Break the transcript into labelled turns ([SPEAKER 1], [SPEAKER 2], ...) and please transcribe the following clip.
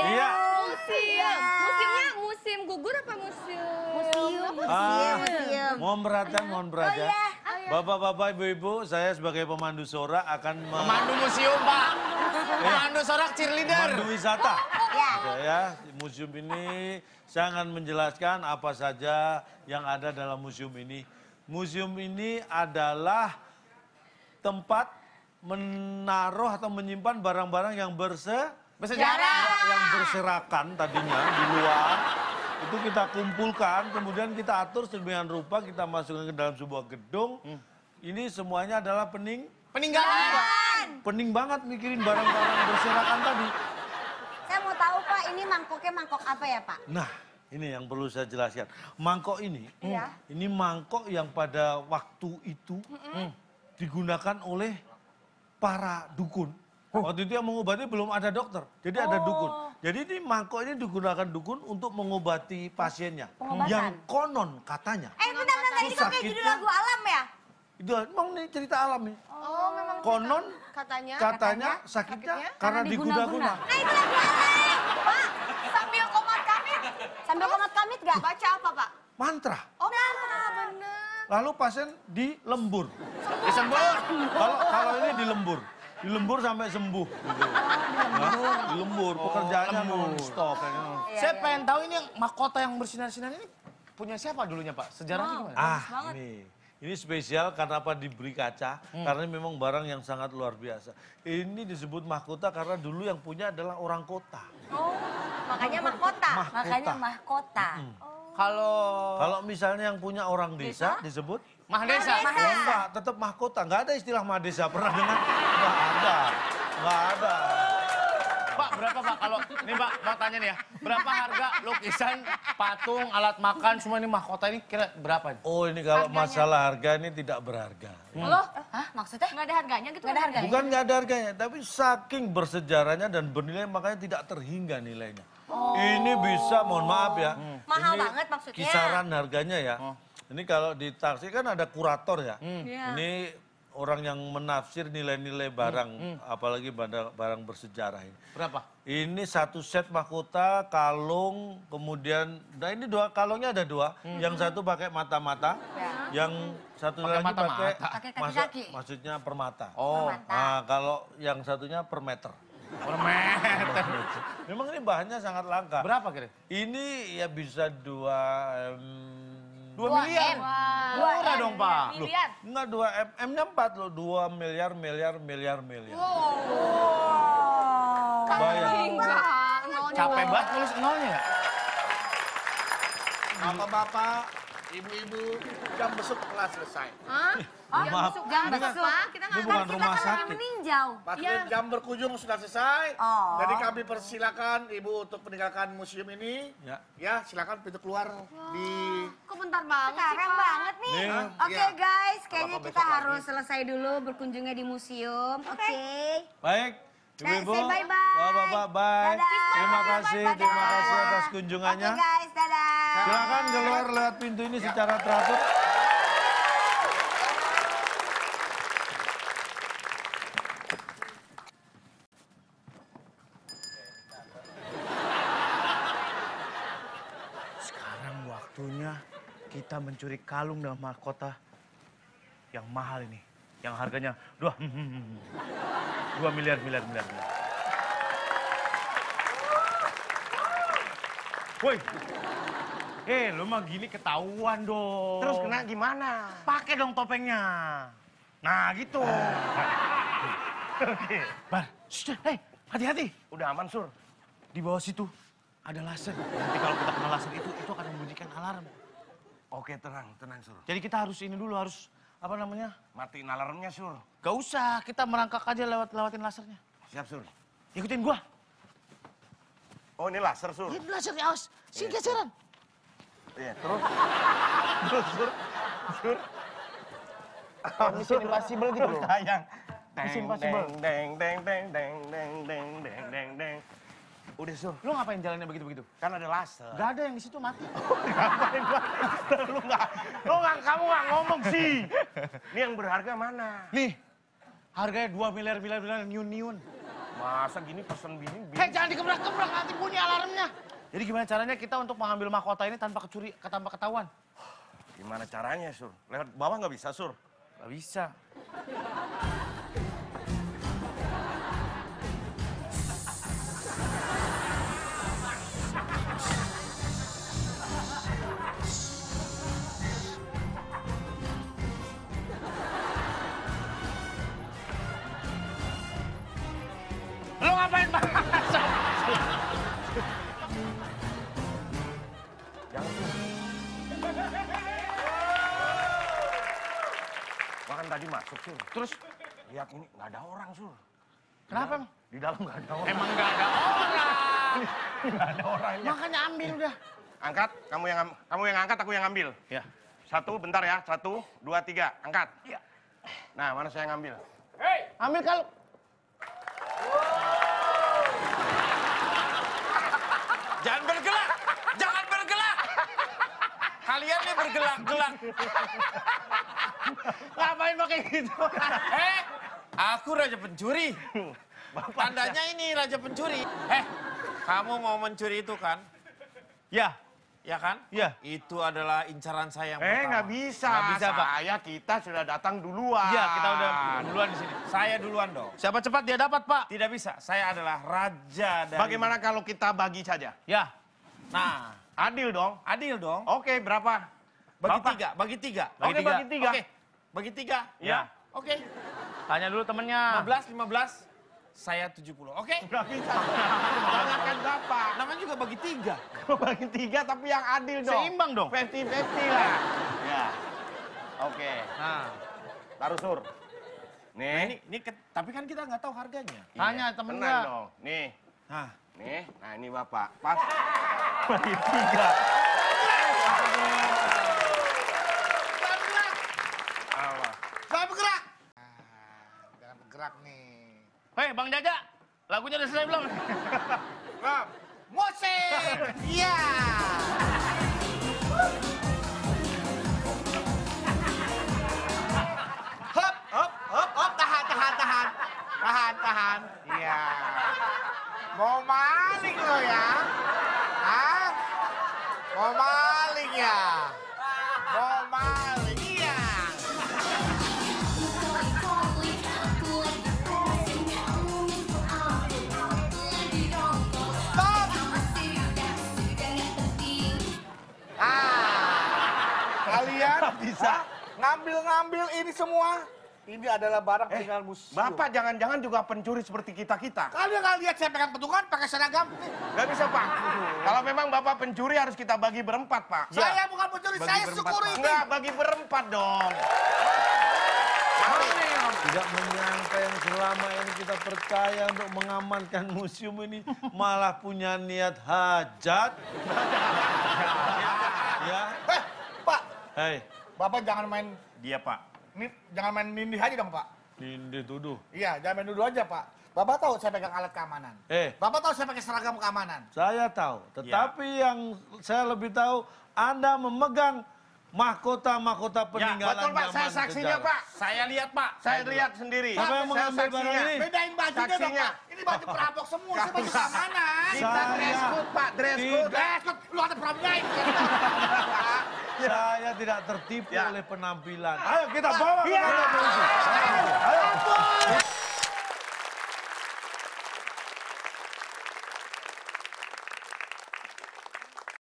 [SPEAKER 1] Iya.
[SPEAKER 2] Iya.
[SPEAKER 1] Ah. Mohon perhatian, mohon perhatian.
[SPEAKER 2] iya.
[SPEAKER 1] ya, Bapak-bapak, ibu-ibu, saya sebagai pemandu Sora akan
[SPEAKER 2] Iya.
[SPEAKER 1] me-
[SPEAKER 3] Pemandu museum, Pak. Pemandu sorak cheerleader.
[SPEAKER 1] pemandu wisata.
[SPEAKER 2] Iya.
[SPEAKER 1] Oke, ya, di museum ini saya akan menjelaskan apa saja yang ada dalam museum ini. Museum ini adalah tempat menaruh atau menyimpan barang-barang yang berse
[SPEAKER 3] Bersejarah.
[SPEAKER 1] yang berserakan tadinya di luar itu kita kumpulkan kemudian kita atur sedemikian rupa kita masukkan ke dalam sebuah gedung ini semuanya adalah pening
[SPEAKER 3] Peninggalan.
[SPEAKER 1] pening banget mikirin barang-barang berserakan tadi
[SPEAKER 2] Saya mau tahu Pak, ini mangkoknya mangkok apa ya Pak?
[SPEAKER 1] nah ini yang perlu saya jelaskan mangkok ini
[SPEAKER 2] Iya.
[SPEAKER 1] ini mangkok yang pada waktu itu digunakan oleh para dukun Waktu itu yang mengobati belum ada dokter,
[SPEAKER 2] Oh.
[SPEAKER 1] jadi ada dukun. Jadi ini mangkok ini digunakan dukun untuk mengobati pasiennya.
[SPEAKER 2] Pengobatan.
[SPEAKER 1] Yang konon katanya
[SPEAKER 2] Eh bentar bentar, tadi kok kayak judul
[SPEAKER 1] Sakitnya-
[SPEAKER 2] lagu alam ya?
[SPEAKER 1] itu emang ini cerita alami.
[SPEAKER 4] Oh, memang
[SPEAKER 1] Konon
[SPEAKER 2] Iya,
[SPEAKER 4] katanya.
[SPEAKER 1] katanya sakitnya karena diguna-guna.
[SPEAKER 2] Nah itu lagu alam. Pak,
[SPEAKER 4] Sambil komat kami
[SPEAKER 2] sambil komat kamit gak?
[SPEAKER 4] baca apa, Pak?
[SPEAKER 1] Mantra.
[SPEAKER 4] Oh, nah, bener.
[SPEAKER 1] Lalu pasien dilembur.
[SPEAKER 3] Disembur.
[SPEAKER 1] Kalau kalau ini dilembur, dilembur sampai sembuh. Gitu. Nah, dilembur, pekerjaannya non-stop. ya kan?
[SPEAKER 3] Saya pengen tahu ini yang mahkota yang bersinar-sinar ini punya siapa dulunya, Pak? Sejarahnya gimana?
[SPEAKER 1] Ah, ini. Ini spesial karena apa diberi kaca, karena ini memang barang yang sangat luar biasa. Ini disebut mahkota karena dulu yang punya adalah orang kota.
[SPEAKER 2] Oh, Makanya mahkota.
[SPEAKER 1] Mahkota.
[SPEAKER 2] Makanya mahkota.
[SPEAKER 3] Kalau
[SPEAKER 1] Kalau misalnya yang punya orang desa, disebut
[SPEAKER 2] Mahdesa.
[SPEAKER 3] Mahdesa.
[SPEAKER 1] Oh, enggak, tetap mahkota. Enggak ada istilah mahadesa. Pernah dengar? Enggak ada. Enggak ada.
[SPEAKER 3] Pak, berapa Pak kalau ini Pak mau tanya nih ya. Berapa harga lukisan, patung, alat makan semua ini mahkota ini kira berapa?
[SPEAKER 1] Oh, ini kalau masalah harga ini tidak berharga.
[SPEAKER 4] Loh,
[SPEAKER 2] Hah maksudnya?
[SPEAKER 4] nggak ada harganya gitu?
[SPEAKER 2] Nggak ada harganya? kan?
[SPEAKER 1] Bukan nggak ada harganya, tapi saking bersejarahnya dan bernilai makanya tidak terhingga nilainya. Ini bisa, mohon maaf ya.
[SPEAKER 2] Oh. Hmm. Mahal
[SPEAKER 1] ini
[SPEAKER 2] banget maksudnya. Oh.
[SPEAKER 1] Kisaran harganya ya. Ini kalau di taksi kan ada kurator ya.
[SPEAKER 2] Hmm. Iya.
[SPEAKER 1] Ini orang yang menafsir nilai-nilai barang,
[SPEAKER 2] Hmm.
[SPEAKER 1] apalagi barang, barang bersejarah ini.
[SPEAKER 3] Berapa?
[SPEAKER 1] Ini satu set mahkota, kalung, kemudian, nah ini dua kalungnya ada dua,
[SPEAKER 2] Hmm.
[SPEAKER 1] yang satu pakai mata-mata, yang satu
[SPEAKER 3] Pakai
[SPEAKER 1] lagi pakai
[SPEAKER 3] mata-mata.
[SPEAKER 2] Ya. Pakai
[SPEAKER 1] maksud-
[SPEAKER 2] kaki-kaki.
[SPEAKER 1] maksudnya permata.
[SPEAKER 3] Oh,
[SPEAKER 2] Permata.
[SPEAKER 1] Nah, kalau yang satunya per meter.
[SPEAKER 3] permen.
[SPEAKER 1] Memang ini bahannya sangat langka.
[SPEAKER 3] Berapa kira?
[SPEAKER 1] Ini ya bisa dua em,
[SPEAKER 3] Dua miliar. Murah dong, Pak.
[SPEAKER 1] Loh, enggak dua m, m-nya empat loh, dua miliar miliar miliar miliar. Bayang.
[SPEAKER 3] Capek banget nulis nolnya ya?
[SPEAKER 5] Bapak-bapak, ibu-ibu, jam besok kelas selesai.
[SPEAKER 4] Hah?
[SPEAKER 1] Mohon Oh,
[SPEAKER 2] Iya,
[SPEAKER 1] maaf,
[SPEAKER 4] Jam
[SPEAKER 2] Ini
[SPEAKER 4] besok.
[SPEAKER 2] bukan-
[SPEAKER 4] Pak, kita
[SPEAKER 1] ini
[SPEAKER 4] nggak
[SPEAKER 1] bukan rumah
[SPEAKER 2] Kita kan lagi
[SPEAKER 1] sakit.
[SPEAKER 2] meninjau.
[SPEAKER 5] Pasti jam berkunjung sudah selesai.
[SPEAKER 2] Oh.
[SPEAKER 5] Jadi kami persilakan ibu untuk meninggalkan museum ini.
[SPEAKER 1] Ya.
[SPEAKER 5] Ya, silakan pintu keluar di
[SPEAKER 4] Kok bentar banget sih,
[SPEAKER 2] Keren
[SPEAKER 4] Pak?
[SPEAKER 2] banget nih.
[SPEAKER 1] Nih.
[SPEAKER 2] Oke
[SPEAKER 5] Iya.
[SPEAKER 2] guys, kayaknya
[SPEAKER 5] Apa-apa
[SPEAKER 2] kita
[SPEAKER 5] besok
[SPEAKER 2] harus selesai dulu berkunjungnya di museum. Oke.
[SPEAKER 1] Baik.
[SPEAKER 2] Nah,
[SPEAKER 1] Ibu-ibu,
[SPEAKER 2] say bye-bye.
[SPEAKER 1] bapak-bapak, bye.
[SPEAKER 2] Dadah.
[SPEAKER 1] Terima kasih,
[SPEAKER 2] Dadah.
[SPEAKER 1] terima kasih atas
[SPEAKER 2] Oke
[SPEAKER 1] kunjungannya.
[SPEAKER 2] guys, Ya. dadah.
[SPEAKER 1] Silakan keluar lewat pintu ini secara teratur.
[SPEAKER 3] Sekarang waktunya kita mencuri kalung dalam mahkota yang mahal ini. Yang harganya dua, dua miliar, miliar, miliar, miliar. Woi, eh lu mah gini ketahuan dong.
[SPEAKER 5] Terus kena gimana?
[SPEAKER 3] Pakai dong topengnya. Nah gitu.
[SPEAKER 5] Ah.
[SPEAKER 3] Oke. Bar, shh, hey, hati-hati.
[SPEAKER 5] Udah aman, Sur.
[SPEAKER 3] Di bawah situ ada laser. Nanti kalau kita kena laser itu, itu akan membunyikan alarm.
[SPEAKER 5] Oke, tenang, tenang, Sur.
[SPEAKER 3] Jadi kita harus ini dulu, harus apa namanya?
[SPEAKER 5] Matiin alarmnya, Sur.
[SPEAKER 3] Gak usah, kita merangkak aja lewat lewatin lasernya.
[SPEAKER 5] Siap, Sur.
[SPEAKER 3] Ikutin gua.
[SPEAKER 5] Oh, ini laser, Sur.
[SPEAKER 3] Ini laser ya, awas. Sini geseran.
[SPEAKER 5] Iya, terus. Terus, Sur. Sur.
[SPEAKER 3] Mission Impossible gitu loh.
[SPEAKER 5] Sayang.
[SPEAKER 3] Mission Impossible.
[SPEAKER 5] Deng, deng, deng, deng, deng, deng, deng, deng, deng. Udah, Sur.
[SPEAKER 3] Lu ngapain jalannya begitu-begitu?
[SPEAKER 5] Kan ada laser.
[SPEAKER 3] Gak ada yang di situ mati.
[SPEAKER 5] Ngapain gua? Lu nggak, lu nggak, kamu nggak ngomong sih. Ini yang berharga mana?
[SPEAKER 3] Nih, harganya 2 miliar miliar miliar nyun-nyun.
[SPEAKER 5] Masa gini pesen bini, bini.
[SPEAKER 3] Hei, jangan dikebrak-kebrak, nanti bunyi alarmnya. Jadi gimana caranya kita untuk mengambil mahkota ini tanpa kecuri, tanpa ketahuan?
[SPEAKER 5] Gimana caranya, Sur? Lewat bawah nggak bisa, Sur?
[SPEAKER 3] Gak bisa. Lo ngapain bang?
[SPEAKER 5] Jangan, Sur. Gua kan tadi masuk, Sur.
[SPEAKER 3] Terus
[SPEAKER 5] Lihat ini, nggak ada orang, Sur.
[SPEAKER 3] kenapa bang?
[SPEAKER 5] Di dalam nggak ada orang.
[SPEAKER 3] Emang gak ada orang.
[SPEAKER 5] nggak ada orangnya.
[SPEAKER 3] Makanya ambil udah.
[SPEAKER 5] Angkat, kamu yang am- kamu yang angkat, aku yang ambil.
[SPEAKER 3] Ya.
[SPEAKER 5] Satu, bentar ya. Satu, dua, tiga, angkat.
[SPEAKER 3] Iya.
[SPEAKER 5] Nah, mana saya ngambil?
[SPEAKER 3] Ambil kalau
[SPEAKER 6] Jangan bergelak! Jangan bergelak! Kalian nih bergelak-gelak.
[SPEAKER 3] ngapain pakai gitu?
[SPEAKER 6] Eh, aku raja pencuri. Tandanya ini raja pencuri. Eh, kamu mau mencuri itu kan?
[SPEAKER 3] ya,
[SPEAKER 6] Ya kan?
[SPEAKER 3] Iya.
[SPEAKER 6] Itu adalah incaran saya yang
[SPEAKER 5] Eh,
[SPEAKER 6] pertama.
[SPEAKER 5] nggak bisa. Iya,
[SPEAKER 3] Nggak bisa, Pak.
[SPEAKER 5] Saya, kita sudah datang duluan.
[SPEAKER 3] ya kita udah duluan di sini.
[SPEAKER 6] Saya duluan dong.
[SPEAKER 3] Siapa cepat dia dapat, Pak.
[SPEAKER 6] Tidak bisa. Saya adalah raja dari...
[SPEAKER 5] Bagaimana kalau kita bagi saja?
[SPEAKER 3] Ya.
[SPEAKER 6] Nah,
[SPEAKER 5] Adil dong.
[SPEAKER 6] adil dong.
[SPEAKER 5] Oke, berapa?
[SPEAKER 6] Bagi
[SPEAKER 5] Bapak.
[SPEAKER 6] tiga, bagi tiga.
[SPEAKER 3] Bagi
[SPEAKER 5] Oke,
[SPEAKER 3] tiga.
[SPEAKER 5] bagi tiga.
[SPEAKER 6] Oke, bagi tiga.
[SPEAKER 5] Ya.
[SPEAKER 6] Oke,
[SPEAKER 3] Tanya dulu temennya.
[SPEAKER 6] 15, 15. Saya 70, oke?
[SPEAKER 5] Nggak bisa. Jangan kan Bapak.
[SPEAKER 6] Namanya juga bagi tiga.
[SPEAKER 5] Kalau bagi tiga tapi yang adil dong.
[SPEAKER 3] Seimbang dong.
[SPEAKER 5] 50-50 lah. Ya. Oke.
[SPEAKER 6] Nah,
[SPEAKER 5] Taruh sur.
[SPEAKER 6] Nah,
[SPEAKER 5] Nih.
[SPEAKER 6] ini, ini ke- tapi kan kita nggak tahu harganya.
[SPEAKER 5] Iya,
[SPEAKER 3] Tanya temen
[SPEAKER 5] tenang
[SPEAKER 3] nggak?
[SPEAKER 5] dong. Nih.
[SPEAKER 6] Nah,
[SPEAKER 5] Nih. Nah, ini Bapak. Pas.
[SPEAKER 3] Bagi tiga.
[SPEAKER 6] nggak bergerak,
[SPEAKER 5] Awas.
[SPEAKER 6] nggak bergerak. Nah,
[SPEAKER 7] Jangan bergerak nih.
[SPEAKER 3] Hei, Bang Jaja. Lagunya udah selesai belum?
[SPEAKER 6] Ram, musik, iya. Hop, hop, hop, hop, tahan, tahan, tahan, tahan, tahan, iya.
[SPEAKER 7] Mau maling lo ya? Hah? Mau maling ya? Mau maling? Iya. Stop! Ah, kalian bisa ngambil-ngambil ini semua. Ini adalah barang tinggal museum.
[SPEAKER 5] Bapak jangan-jangan juga pencuri seperti kita-kita.
[SPEAKER 7] Kalian nggak lihat saya pegang petungan pakai seragam? Nih,
[SPEAKER 5] Nggak bisa, Pak. Kalau memang Bapak pencuri harus kita bagi berempat, Pak.
[SPEAKER 7] Saya bukan pencuri, saya security.
[SPEAKER 5] Enggak, bagi berempat dong.
[SPEAKER 1] Tidak menyangka yang selama ini kita percaya untuk mengamankan museum ini malah punya niat hajat. ya,
[SPEAKER 7] Eh, Pak,
[SPEAKER 1] hei,
[SPEAKER 7] Bapak jangan main
[SPEAKER 5] Dia, Iya, Pak.
[SPEAKER 7] nin- jangan main nindih aja dong, Pak.
[SPEAKER 1] dindi tuduh.
[SPEAKER 7] Iya, jangan main dulu aja, Pak. Bapak tahu saya pegang alat keamanan.
[SPEAKER 1] Eh.
[SPEAKER 7] Bapak tahu saya pakai seragam keamanan.
[SPEAKER 1] Saya tahu,
[SPEAKER 5] Ya.
[SPEAKER 1] tetapi yang saya lebih tahu Anda memegang mahkota-mahkota peninggalan
[SPEAKER 5] Ya, betul, Pak. Saya
[SPEAKER 1] zaman
[SPEAKER 5] saksinya,
[SPEAKER 1] sejarah.
[SPEAKER 5] Pak.
[SPEAKER 6] Saya lihat pak,
[SPEAKER 5] Saya lihat sendiri.
[SPEAKER 1] Siapa yang
[SPEAKER 5] Saya
[SPEAKER 1] mengambil barang
[SPEAKER 5] saksinya.
[SPEAKER 1] ini?
[SPEAKER 7] Bedain bajunya dong,
[SPEAKER 5] Saksinya.
[SPEAKER 7] Pak. Ini baju perampok semua, saya baju keamanan.
[SPEAKER 5] Kita
[SPEAKER 1] Saya
[SPEAKER 5] dress code, Pak. Dress code.
[SPEAKER 1] tidak-
[SPEAKER 7] Eh, Scott, lu ada perampok lain.
[SPEAKER 1] Saya tidak tertipu
[SPEAKER 5] Ya.
[SPEAKER 1] oleh penampilan. Ayo kita bawa ke kantor polisi.
[SPEAKER 7] Ampun.